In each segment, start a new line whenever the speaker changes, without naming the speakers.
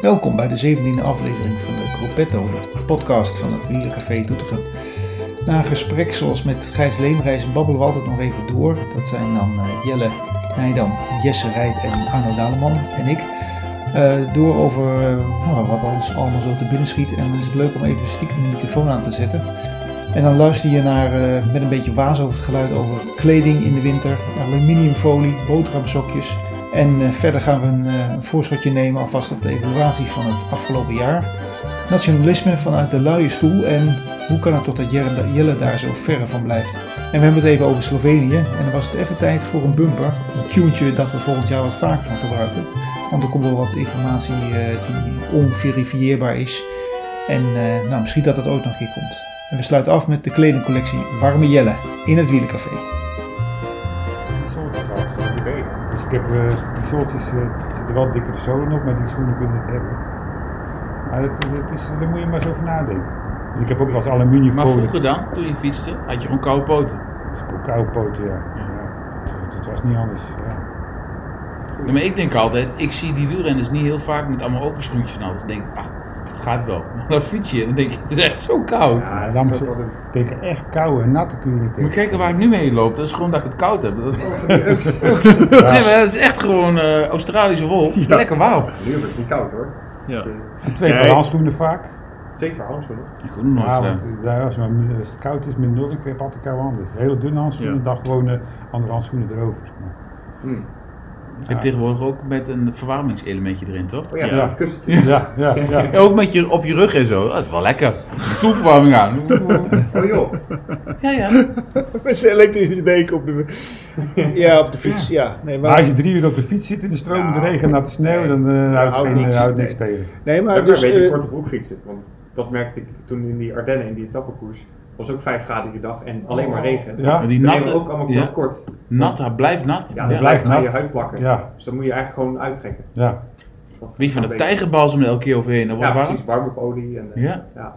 Welkom bij de 17e aflevering van de Croppetto, de podcast van het Wielencafé Doetinchem. Na een gesprek zoals met Gijs Leemreis babbelen we altijd nog even door. Dat zijn dan eh, Jelle Nijdam, Jesse Rijt en Arno Daleman en ik. Eh, door over eh, nou, wat ons allemaal zo te binnen schiet. En dan is het leuk om even stiekem de microfoon aan te zetten. En dan luister je naar, eh, met een beetje waas over het geluid, over kleding in de winter, aluminiumfolie, boterhamsokjes. En eh, verder gaan we een, eh, een voorschotje nemen alvast op de evaluatie van het afgelopen jaar. Nationalisme vanuit de luie stoel en hoe kan het toch dat Jelle, Jelle daar zo ver van blijft. En we hebben het even over Slovenië en dan was het even tijd voor een bumper. Een tuentje dat we volgend jaar wat vaker gaan gebruiken. Want er komt wel wat informatie eh, die onverifieerbaar is. En eh, nou, misschien dat dat ooit nog een keer komt. En we sluiten af met de kledingcollectie Warme Jelle in het Wielencafé.
soorten gehad van die benen. Dus ik heb eh, die soortjes eh, zitten wel dikkere zolen op, maar die schoenen kunnen het hebben. Maar dat, dat is, daar moet je maar eens over nadenken. En ik heb ook wel eens
Maar
aluminiumfolie,
vroeger dan, toen je fietste, had je gewoon koude poten.
koude poten, ja. ja. Dat, dat was niet anders. Ja.
Ja, maar ik denk altijd, ik zie die wielrenners niet heel vaak met allemaal overschoentjes en alles. Dan denk ik, ach, dat gaat wel. Maar dan fiets je en dan denk ik, het is echt zo koud.
Ja, dan moet je- tegen echt koude en natte kun je niet
Moet
tegen.
je kijken waar ik nu mee loop, dat is gewoon dat ik het koud heb. Dat... Nee, maar dat is echt gewoon eh, Australische wol. Lekker wauw.
Nu wordt het niet koud hoor.
En twee
Nee.
nee. handschoenen vaak.
Zeker handschoenen.
Ik heb ook nog nooit
Ja, want
gedaan.
eh, daar, als, het maar- als het koud is, minder nodig, ik heb altijd koude handen. Hele dunne handschoenen,
Ja.
dan gewoon eh, andere handschoenen erover.
Je hebt tegenwoordig ook met een verwarmingselementje erin, toch?
Oh ja,
Ja.
ja. kussentje.
Ja, ja, ja.
Ja, ook met je op je rug en zo. Dat is wel lekker. Stoelverwarming aan.
Oh joh.
Ja, ja.
Met zijn elektrische deken op de, ja, op de fiets. Ja. nee,
Maar als je drie uur op de fiets zit in de stroom, de
Ja.
regen, natte sneeuw, dan eh, houdt
houdt
geen-
niks.
houdt niks
Nee.
tegen.
nee, maar
Maar dus, weet ik
eh,
korte broek fietsen. Want dat merkte ik toen in die Ardennen, in die etappekoers. was ook 5 graden die dag en alleen maar regen.
Ja,
Maar die
We nemen ook
natte,
allemaal
Oh. ja,
kort kort.
nat, hij blijft nat.
Ja, dat
Ja.
blijft
nat.
aan je huid plakken.
Ja.
Dus dat moet je eigenlijk gewoon uittrekken.
ja.
Weet je, van de
Een
tijgerbalsem er elke keer overheen. Dat
beetje- Ja,
wordt warm.
precies. Warm op olie. En, eh,
Ja.
ja.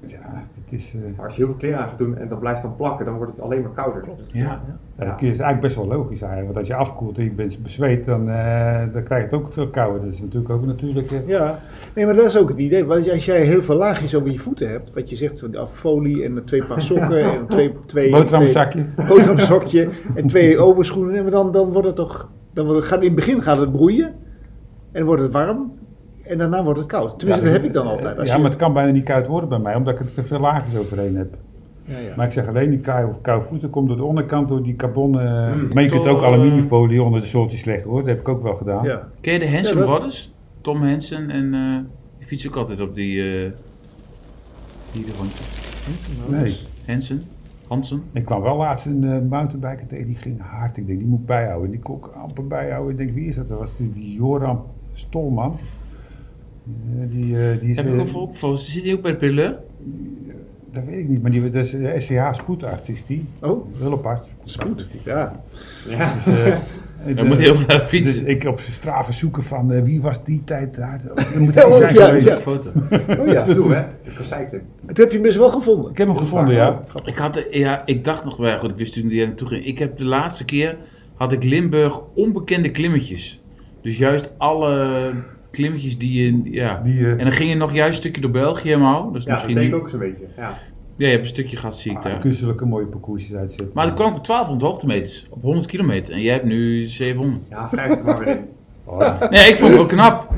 Ja, het is, eh,
Maar als je heel veel kleren aan gaat doen en dat blijft dan plakken, dan wordt het alleen maar kouder. Dus-
Ja.
ja, dat is eigenlijk best wel logisch eigenlijk. Want als je afkoelt en je bent bezweet, dan, eh, dan krijg je het ook veel kouder. Dat is natuurlijk ook natuurlijk... eh,
Ja, nee, maar dat is ook het idee. Want als jij heel veel laagjes over je voeten hebt, wat je zegt, van af folie en twee paar sokken en twee, twee
boterhamzakje.
twee- boterhamzakje en twee overschoenen, nee, maar dan, dan wordt het toch, dan wordt het- gaat, in het begin gaat het broeien en wordt het warm en daarna wordt het koud. Tenminste, dat heb ik dan altijd. Als
Ja,
je-
maar het kan bijna niet koud worden bij mij, omdat ik er te veel laagjes overheen heb.
ja, ja.
Maar ik zeg alleen die kou, koude voeten komt door de onderkant, door die carbon. eh,
Mm.
maar je kunt ook
Toch,
aluminiumfolie onder dus de soortjes leggen hoor, dat heb ik ook wel gedaan.
Ja.
Ken je de Hanson
Ja, dat-
Brothers? Tom Hansen en eh die fietsen ook altijd op die eh die rondje.
Nee,
Hansen, Hansen.
ik kwam wel laatst een eh, mountainbiker tegen, die ging hard. Ik denk, die moet ik bijhouden. En die kon ik amper bijhouden. Ik denk, wie is dat? Dat was die, die Joram Stolman. Eh, die, eh, die is,
Heb ik
eh,
ook voor volgens zit hij ook bij de Peleur?
Dat weet ik niet, maar die, dat is eh, de SCH spoedarts is die.
Oh,
Hulparts.
spoed. Ja.
Ja.
Dus, eh,
Hij
de-
moet heel veel naar de fiets.
dus ik op zijn straven zoeken van eh, wie was die tijd daar. Dat moet
Ja,
hij
oh,
zijn
ja,
geweest.
ja.
Foto.
Oh ja,
Dat is toe, hè? De recycling.
dat heb je best wel gevonden.
Ik heb hem gevonden, ja.
Ik had, de- ja, ik dacht nog wel, goed, ik wist toen die er naartoe ging. Ik heb de laatste keer, had ik Limburg onbekende klimmetjes. Dus juist alle klimmetjes die je, ja.
Die, eh,
En dan ging je nog juist een stukje door België helemaal. Dus
Ja, dat
misschien
denk ik
nu-
ook zo'n beetje. Ja.
Ja, je hebt een stukje gehad, zie ik
ah,
daar.
dan kun je zulke mooie parcoursjes uitzetten.
Maar er kwam ik op 1200 hoogtemeters op 100 kilometer en jij hebt nu 700.
ja, wrijf er maar weer in.
Oh, ja.
Nee, ik vond het wel knap.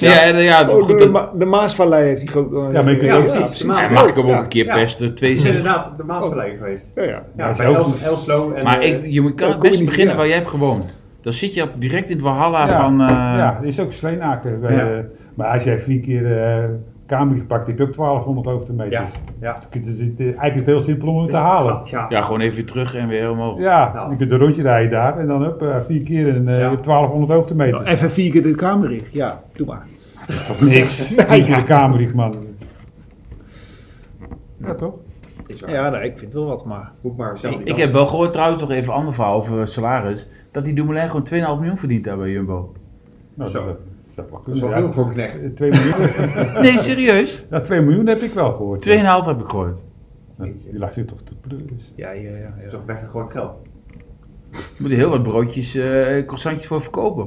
ja, ja, ja,
Oh,
goed.
de,
Dat,
Ma- de Maasvallei heeft hij ook.
Ja, maar je kunt
Ja,
ook-
precies. De Maas-
ja, mag ik hem ook
Ja.
een keer
Ja.
pesten?
Het is
62.
inderdaad de Maasvallei geweest.
Ja, ja.
Ja,
Ja,
bij
zo
Els,
goed.
Elslo en...
Maar
eh,
ik, je moet- kan
Ja,
het
kom je
best
niet-
beginnen
ja.
waar jij hebt gewoond. Dan zit je op- direct in het Walhalla
Ja.
van... eh,
ja, er is ook sleenaken.
Ja.
eh, maar als jij vier keer eh kamer gepakt, heb je ook 1200
Ja,
hoogtemeters.
ja.
Je kunt- het is- het- Eigenlijk is het heel simpel om het te
Dus
halen.
dat, ja.
ja, gewoon even weer terug en weer omhoog.
Ja,
Ja.
je kunt een rondje rijden daar en dan up, eh, vier keer en eh, je hebt 1200 hoogtemeters.
Nou, Even vier keer de kamer in. Ja, doe maar.
Toch niks. Vier keer de kamer, man. Ja, toch?
Is waar.
Ja, nou, ik vind wel wat, maar.
Moet maar zelf die
Ik
kant
heb wel gehoord trouwens, nog even een ander verhaal over salaris, dat die Dumoulin gewoon 2,5 miljoen verdient daar bij Jumbo.
Nou,
Zo.
Dat, is, eh, dat mag kunnen.
Zoveel
Ja,
voor knecht.
2 miljoen.
Nee, serieus? 2,5
ja, 2 miljoen heb ik wel gehoord. ja.
heb ik gehoord.
Nou, Die lag zich toch te pleuren.
Ja, ja, ja.
is
ja.
ook weggegooid geld.
Moet er heel wat broodjes, eh croissantjes voor verkopen.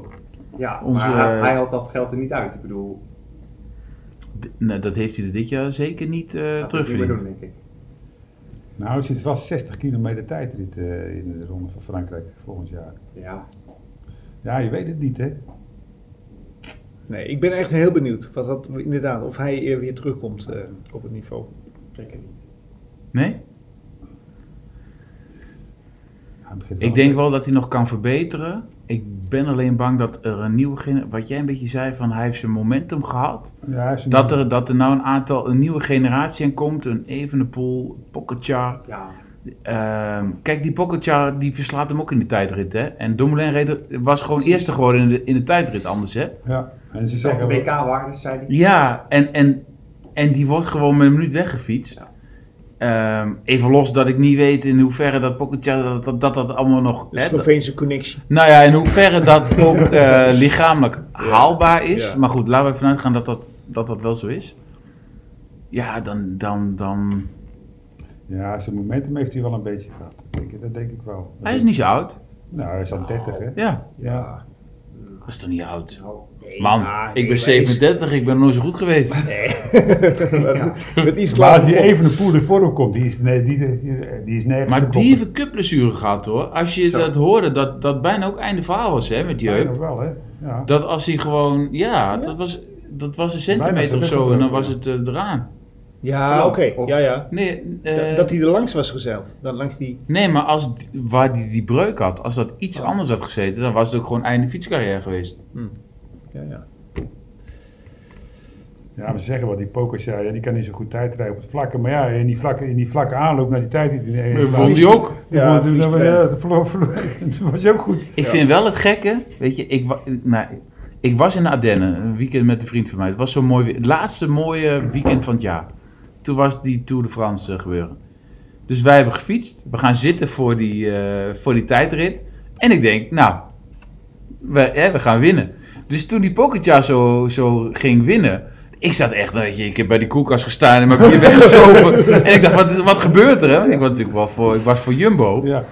Ja,
Onze-
maar hij, hij had dat geld er niet uit. Ik bedoel,
D- nou, dat heeft hij er dit jaar zeker niet eh,
dat moet je niet meer
terugverdiend.
doen, denk ik.
Nou, er zit wel 60 kilometer tijdrit eh, in de Ronde van Frankrijk volgend jaar.
Ja,
Ja, je weet het niet, hè?
Nee, ik ben echt heel benieuwd wat dat, inderdaad, of hij eh, weer terugkomt eh, op het niveau.
zeker niet.
Nee?
Hij begint
Ik denk wel dat hij nog kan verbeteren. Ik ben alleen bang dat er een nieuwe generatie. Wat jij een beetje zei van hij heeft zijn momentum gehad.
Ja, hij is een-
Dat er, dat er nou een aantal een nieuwe generatie aan komt. Een Evenepoel, Pocketjar.
Ja,
Ehm kijk, die Pocketjar die verslaat hem ook in de tijdrit. Hè? En Dumoulin reed er- was gewoon eerste geworden in de, in de tijdrit anders. Hè?
Ja, en ze
dat de
zeggen... wel-
WK-waarde, zei hij.
Ja, en, en, en die wordt gewoon met een minuut weggefietst.
Ja.
Ehm, even los dat ik niet weet in hoeverre dat Pocketjar dat, dat, dat, dat allemaal nog...
De
hè, dat-
Sloveense connectie.
Nou ja, in hoeverre dat ook eh, lichamelijk haalbaar is.
Ja.
Maar goed, laten we ervan uitgaan dat dat, dat, dat wel zo is. Ja, dan, dan, dan...
Ja, zijn momentum heeft hij wel een beetje gehad. Dat denk ik, dat denk ik wel.
Hij is niet zo oud.
Nou, hij is al 30, hè?
Ja,
Ja.
dat is toch niet oud?
Nou,
Man, ik ben 37, ik ben nooit zo goed geweest.
Met iets
Maar als
later.
die even een poel in vorm komt, die is, nee, die, die, die is nergens te
Maar die
koppelen.
heeft een kutblessure gehad hoor. Als je
Zo.
dat hoorde, dat, dat bijna ook einde verhaal was hè, met die
Ja,
heup.
nog wel, hè? Ja.
Dat als hij gewoon, ja, dat was, dat was een
Bijna
centimeter
zijn
of
rug
zo en dan
gebroken,
was
ja.
het eh, eraan.
Ja, oké.
Of-
Ja, ja.
Nee,
Da-
eh,
dat hij er langs was gezeild. Dan langs die...
Nee, maar als d- waar die die breuk had, als dat iets anders had gezeten, dan was het ook gewoon einde fietscarrière geweest.
Ja, ja.
Ja, maar ze zeggen wel, die pokers, ja, die kan niet zo goed tijd rijden op het vlakke. Maar ja, in die vlakke, in die vlakke aanloop naar die tijd... Die, die,
Eh, Vond hij ook.
Ja,
Ja,
verliest
dat
hij.
verloor- verloor- dat was ook goed.
Ik vind wel het gekke, weet je, ik, wa- nou, ik was in de Ardennen een weekend met een vriend van mij. Het was zo mooi weer. Het laatste mooie weekend van het jaar. Toen was die Tour de France eh, gebeuren. Dus wij hebben gefietst. We gaan zitten voor die, eh, voor die tijdrit. En ik denk, nou, we, hè, we gaan winnen. Dus toen die Pogacar zo, zo ging winnen. Ik zat echt, nou weet je, ik heb bij die koelkast gestaan en mijn bier weggezopen. en ik dacht, wat, is- wat gebeurt er? Hè? Want Ik was natuurlijk wel voor, ik was voor Jumbo.
Ja.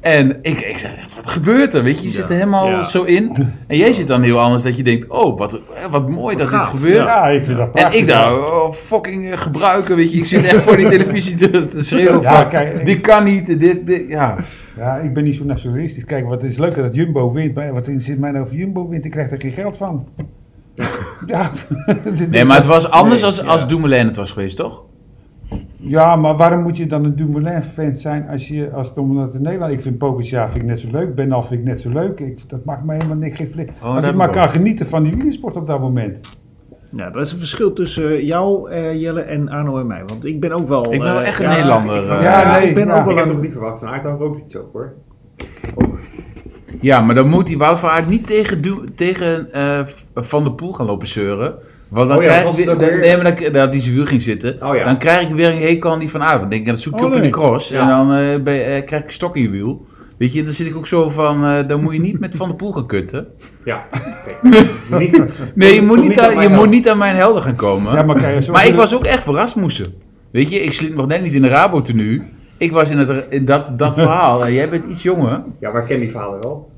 En ik, ik zei, wat gebeurt er? Weet je, je zit er helemaal
Ja.
zo in. En jij zit dan heel anders dat je denkt, oh, wat, eh, wat mooi dat dit gebeurt.
ja, ik vind dat
En
prachtig.
ik nou, oh, fucking eh, gebruiken, weet je. Ik zit echt voor die televisie te, te schreeuwen
Ja,
van,
kijk, ik-
dit kan niet, dit, dit, ja.
Ja, ik ben niet zo nationalistisch. Kijk, wat is leuker dat Jumbo wint. Maar wat in zit mij nou voor Jumbo wint? Ik krijg daar geen geld van. Ja,
Nee, maar het was anders
Nee,
als, als Dumoulin het was geweest, toch?
ja, maar waarom moet je dan een Dumoulin-fan zijn als, je, als het om dat in Nederland... Ik vind Pogacar vind ik net zo leuk. Ben Al vind ik net zo leuk. Ik, dat maakt me helemaal niks. Geen flik. als
dat
ik
heb
maar
ik
kan
ook.
genieten van die wielersport op dat moment.
Nou, dat is een verschil tussen eh, jou, eh, Jelle, en Arno en mij. Want ik ben ook wel...
Ik ben wel
eh,
echt een
ja,
Nederlander.
ik-
ja,
eh. Ja,
Ja,
nee,
ik ben
ja.
ook
Ik
wel
heb
een...
toch liever verwacht van Aardhout ook iets op hoor.
maar dan moet die Wout van Aert niet tegen, Du- tegen eh, Van der Poel gaan lopen zeuren. Want dan
Oh ja,
krijg
dat
ik weer-
was het ook
dan-
weer.
nee, maar dan, dat die zijn huur ging zitten.
Oh ja.
Dan krijg ik weer een hekel aan die van Aert. Dan denk ik, dat zoek je
Oh,
op in
nee.
de cross.
Ja.
En dan eh, ben je- eh, krijg ik een stok in je wiel. Weet je, dan zit ik ook zo van, eh, dan moet je niet met Van der Poel gaan kutten.
Ja, oké. Niet-
Nee, je moet
Kom
niet,
niet aan
aan,
mijn
je
helden.
moet niet aan mijn helden gaan komen.
Ja, maar kijk, als je-
Maar ik was ook echt verrast moesten. Weet je, ik sliep nog net niet in de rabo tenue. Ik was in, het, in dat, dat verhaal. En jij bent iets jonger.
Ja, maar ik ken die verhalen wel.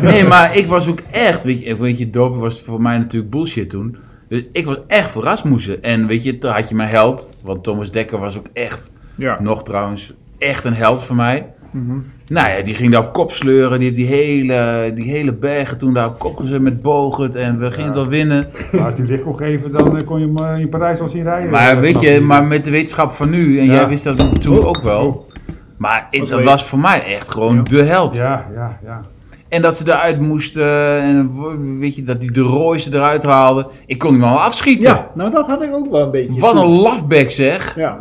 Nee, maar ik was ook echt. Weet je, weet je dopen was voor mij natuurlijk bullshit toen. Dus ik was echt verrast moesten. En weet je, toen had je mijn held. Want Thomas Dekker was ook echt,
Ja.
nog trouwens, echt een held voor mij.
Mhm.
Nou ja, die ging daar op kop sleuren. Die heeft die hele, die hele bergen toen daar op kop gezet met Bogert. En we gingen het wel winnen.
Maar als die licht kon geven, dan eh, kon je hem eh, in Parijs al zien rijden. Nou,
Maar weet je,
Dat-
maar met de wetenschap van nu, en
Ja. Oh.
jij wist dat toen ook wel. Maar ik,
Wat
dat
weet-
was voor mij echt gewoon de held.
Ja, ja, ja.
En dat ze eruit moesten, en wo- weet je, dat die de Royce eruit haalden. Ik kon hem al afschieten.
ja, nou dat had ik ook wel een beetje.
Wat een lafback zeg.
Ja,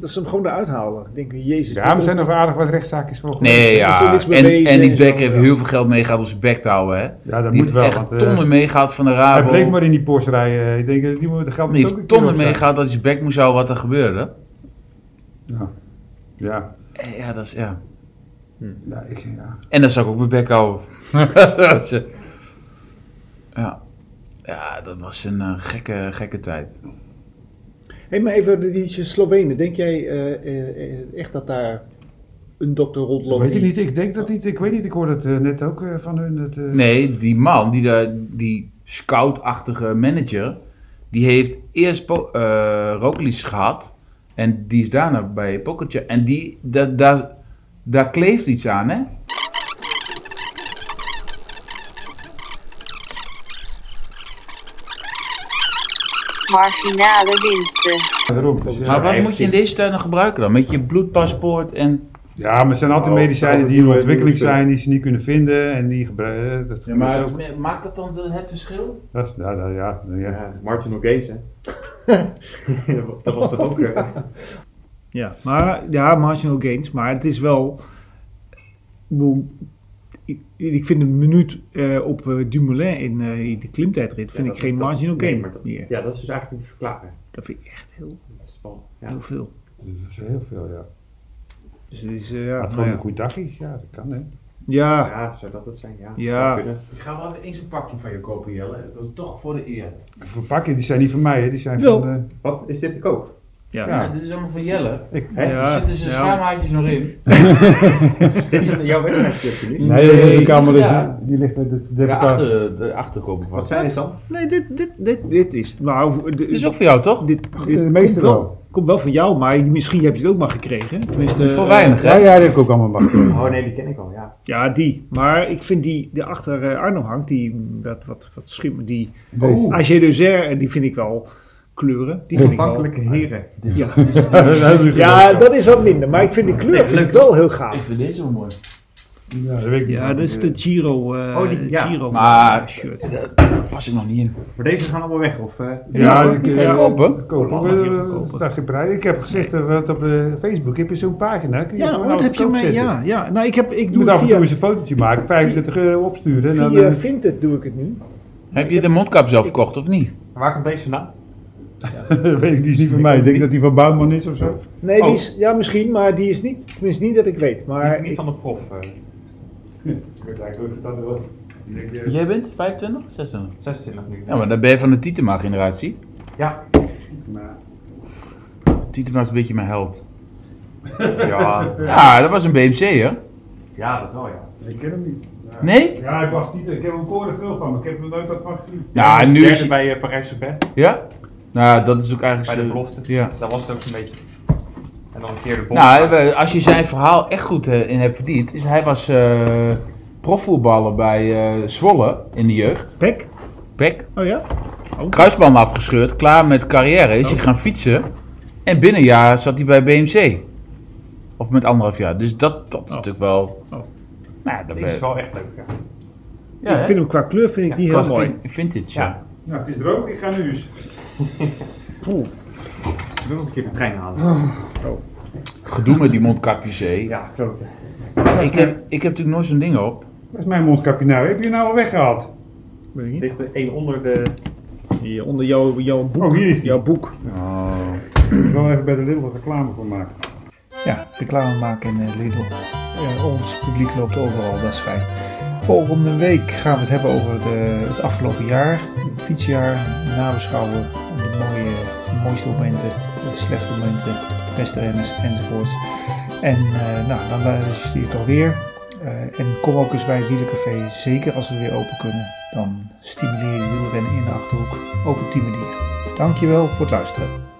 dat ze hem gewoon eruit halen. Ik denk, jezus.
Ja, maar er zijn nog aardig wat rechtszaakjes voor geweest.
Nee,
er
ja.
viel niks mee
En,
bezig
en die
en
Beck
zo,
heeft
ja.
heel veel geld meegehaald om zijn bek te houden, hè.
Ja, dat
die
moet
heeft
wel.
echt
Want, eh,
tonnen meegehaald van de
hij
Rabo.
bleef maar in die Porsche rijden. Ik denk, eh, die moet de geld moet
Die
ook een
heeft
keer
tonnen
op zijn.
meegehaald dat hij zijn bek moest houden wat er gebeurde.
Ja. Ja.
Eh, Ja, dat is, ja.
Ja, ik, ja.
En dan zou ik ook mijn bek houden. ja. ja, dat was een eh, gekke, gekke tijd.
Hé, maar even die Slovenen. Denk jij eh, eh, eh, echt dat daar een dokter rondloopt.
Weet ik
die-
niet, ik denk dat niet. Ik weet niet, ik hoorde het eh, net ook eh, van hun. Dat, eh,
Nee, die man, die, daar- die scoutachtige manager, die heeft eerst po- eh, Roglic gehad. En die is daarna bij Pocketje. En die, da- daar- daar kleeft iets aan, hè?
Marginale winsten.
daarom. Dus, eh,
Maar wat
Ja,
moet je in
precies.
deze tijd nog gebruiken dan? Met je bloedpaspoort en...
ja, maar er zijn altijd
Oh,
medicijnen
dat
die in
doe-
ontwikkeling
doe-
zijn, die ze niet kunnen vinden en die gebruiken. Dat gebeurt ook.
maakt dat dan het verschil?
Dat is- ja, ja, ja, ja.
Ja, marginal gains, Eh, hè? dat was dat ook. eh.
Ja, maar, ja, marginal gains, maar het is wel. ik bedoel, Ik, ik vind een minuut eh, op eh, Dumoulin in eh, de klimtijdrit vind ik
Ja, dat-
geen
dat-
marginal
nee,
gain
maar dat-
meer.
Ja, dat is dus eigenlijk niet te verklaren.
Dat vind ik echt heel,
Dat is wel, ja.
heel veel.
Dus dat is heel veel, ja.
Dus het is, eh, ja,
Maar
nou
gewoon
ja.
een goed dagje, ja, dat kan hè.
Ja,
ja, zou dat het zijn? Ja.
Ja.
zou kunnen.
Ik ga wel even eens een pakje van je kopen, Jelle. Dat is toch voor de eer.
Verpakken, die zijn niet van mij, hè. die zijn
Wel.
van... eh,
Wat is dit te koop?
ja.
Ja.
dit is allemaal van Jelle.
Hè?
Ja.
Er zitten zijn
ja.
schaamhaakjes nog in.
Is dit een, jouw wedstrijdje niet?
Nee, dat heb ik allemaal dus,
ja.
ja.
die ligt met de, de,
De, achter, eh, de achterkop
Wat
was.
zijn dit dan?
Nee, dit, dit, dit, dit is. Nou, dit,
Dit is Dus ook voor jou, toch?
dit, dit
de meeste
komt wel,
wel.
Komt wel van jou, maar misschien heb je het ook maar gekregen. Tenminste,
Voor
eh,
weinig,
Ja,
hè?
ja, die heb ik ook allemaal bakken.
Oh nee, die ken ik al, ja.
Ja, die. Maar ik vind die, die achter eh, Arno hangt, die mm, wat, wat, wat schimmert, die
Deze.
Agé de Zer, en die vind ik wel kleuren. Die vind ik wel.
Afhankelijke heren.
Ja. ja,
Ja,
dat is wat minder, maar ik vind die kleur vind ik wel heel
Ik
gaaf.
vind deze wel mooi.
Ja, dat weet ik niet.
Ja, dat is de Giro, eh
Oh, die- ja.
Giro
Maar-
shirt.
Daar pas ik nog niet in.
Maar deze gaan allemaal weg, of? eh,
Ja,
Ja,
ik
Kun je
eh,
kopen?
koop ook,
Allemaal
eh,
kopen.
dat staat geen prijs. Ik heb gezegd eh, wat op eh, Facebook heb je zo'n pagina. Kun je
Ja,
gewoon
wat
alles
heb je
koop
mee?
zetten.
Ja, ja, nou ik, heb, ik
Je
doe
moet
het
af en toe
via,
eens een fotootje maken, 35 euro opsturen. En dan,
via
eh,
Vinted doe ik het nu.
Heb je de mondkap zelf verkocht of niet?
Waar komt deze vandaan?
eh, weet ik, die is niet van mij. Ik denk dat die van Bouwman is of zo.
Nee, die
Oh.
is, ja misschien, maar die is niet, tenminste niet dat ik weet. Maar
niet
ik-
van de prof. eh.
Ik weet eigenlijk ook dat wel. Ik denk, eh,
Jij bent 25? 26?
26 nu.
Ja, maar dan ben je van de Tietema-generatie.
Ja.
maar-
Tietema is een beetje mijn held.
Ja.
Ja, dat was een BMC, hè?
ja, dat wel, ja.
Ik ken hem niet. Ja.
Nee?
Ja, ik was niet. Ik heb hem koren veel van, maar ik heb er nooit wat van gezien.
Ja, en nu
Derde
is hij-
bij eh, Parijs-Roubaix,
Ja? Nou, dat is ook eigenlijk...
bij de
zo-
belofte.
Ja.
Daar was het ook zo'n beetje. En dan een keer de bom.
Nou, we- als je zijn verhaal echt goed eh, in hebt verdiend, is hij was eh, profvoetballer bij eh, Zwolle in de jeugd.
Pek?
Pek.
Oh ja?
Kruisband afgescheurd, klaar met carrière, is hij gaan fietsen. En binnen een jaar zat hij bij BMC. Of met anderhalf jaar. Dus dat, dat is natuurlijk wel...
Oh.
Nou, dat
Deze is wel echt leuk, ja.
Ja,
ik vind hem qua kleur vind ik die heel mooi.
Vintage, ja.
Ja.
Nou, het is droog, ik ga nu dus. eens.
Ze willen nog een keer de trein halen.
Gedoe met die mondkapjes, hé.
Ja, klote.
ik, heb, ik heb natuurlijk nooit zo'n ding op.
Waar is mijn mondkapje nou? Heb je nou al weggehaald?
Weet ik niet.
Ligt er één onder de...
Die onder jouw, jouw boek.
Oh, hier is die.
Jouw boek.
Oh.
Ik wil even bij de Lidl wat reclame voor maken.
Ja, reclame maken in eh, Lidl. Eh, ons publiek loopt overal, dat is fijn. Volgende week gaan we het hebben over de, het afgelopen jaar. Het fietsjaar, nabeschouwen, de mooie, de mooiste momenten, de slechtste momenten, de beste renners enzovoorts. En eh, nou, dan luister je toch weer. Eh, en kom ook eens bij het Wielencafé, zeker als we weer open kunnen. Dan stimuleer je wielrennen in de Achterhoek, ook op die manier. Dankjewel voor het luisteren.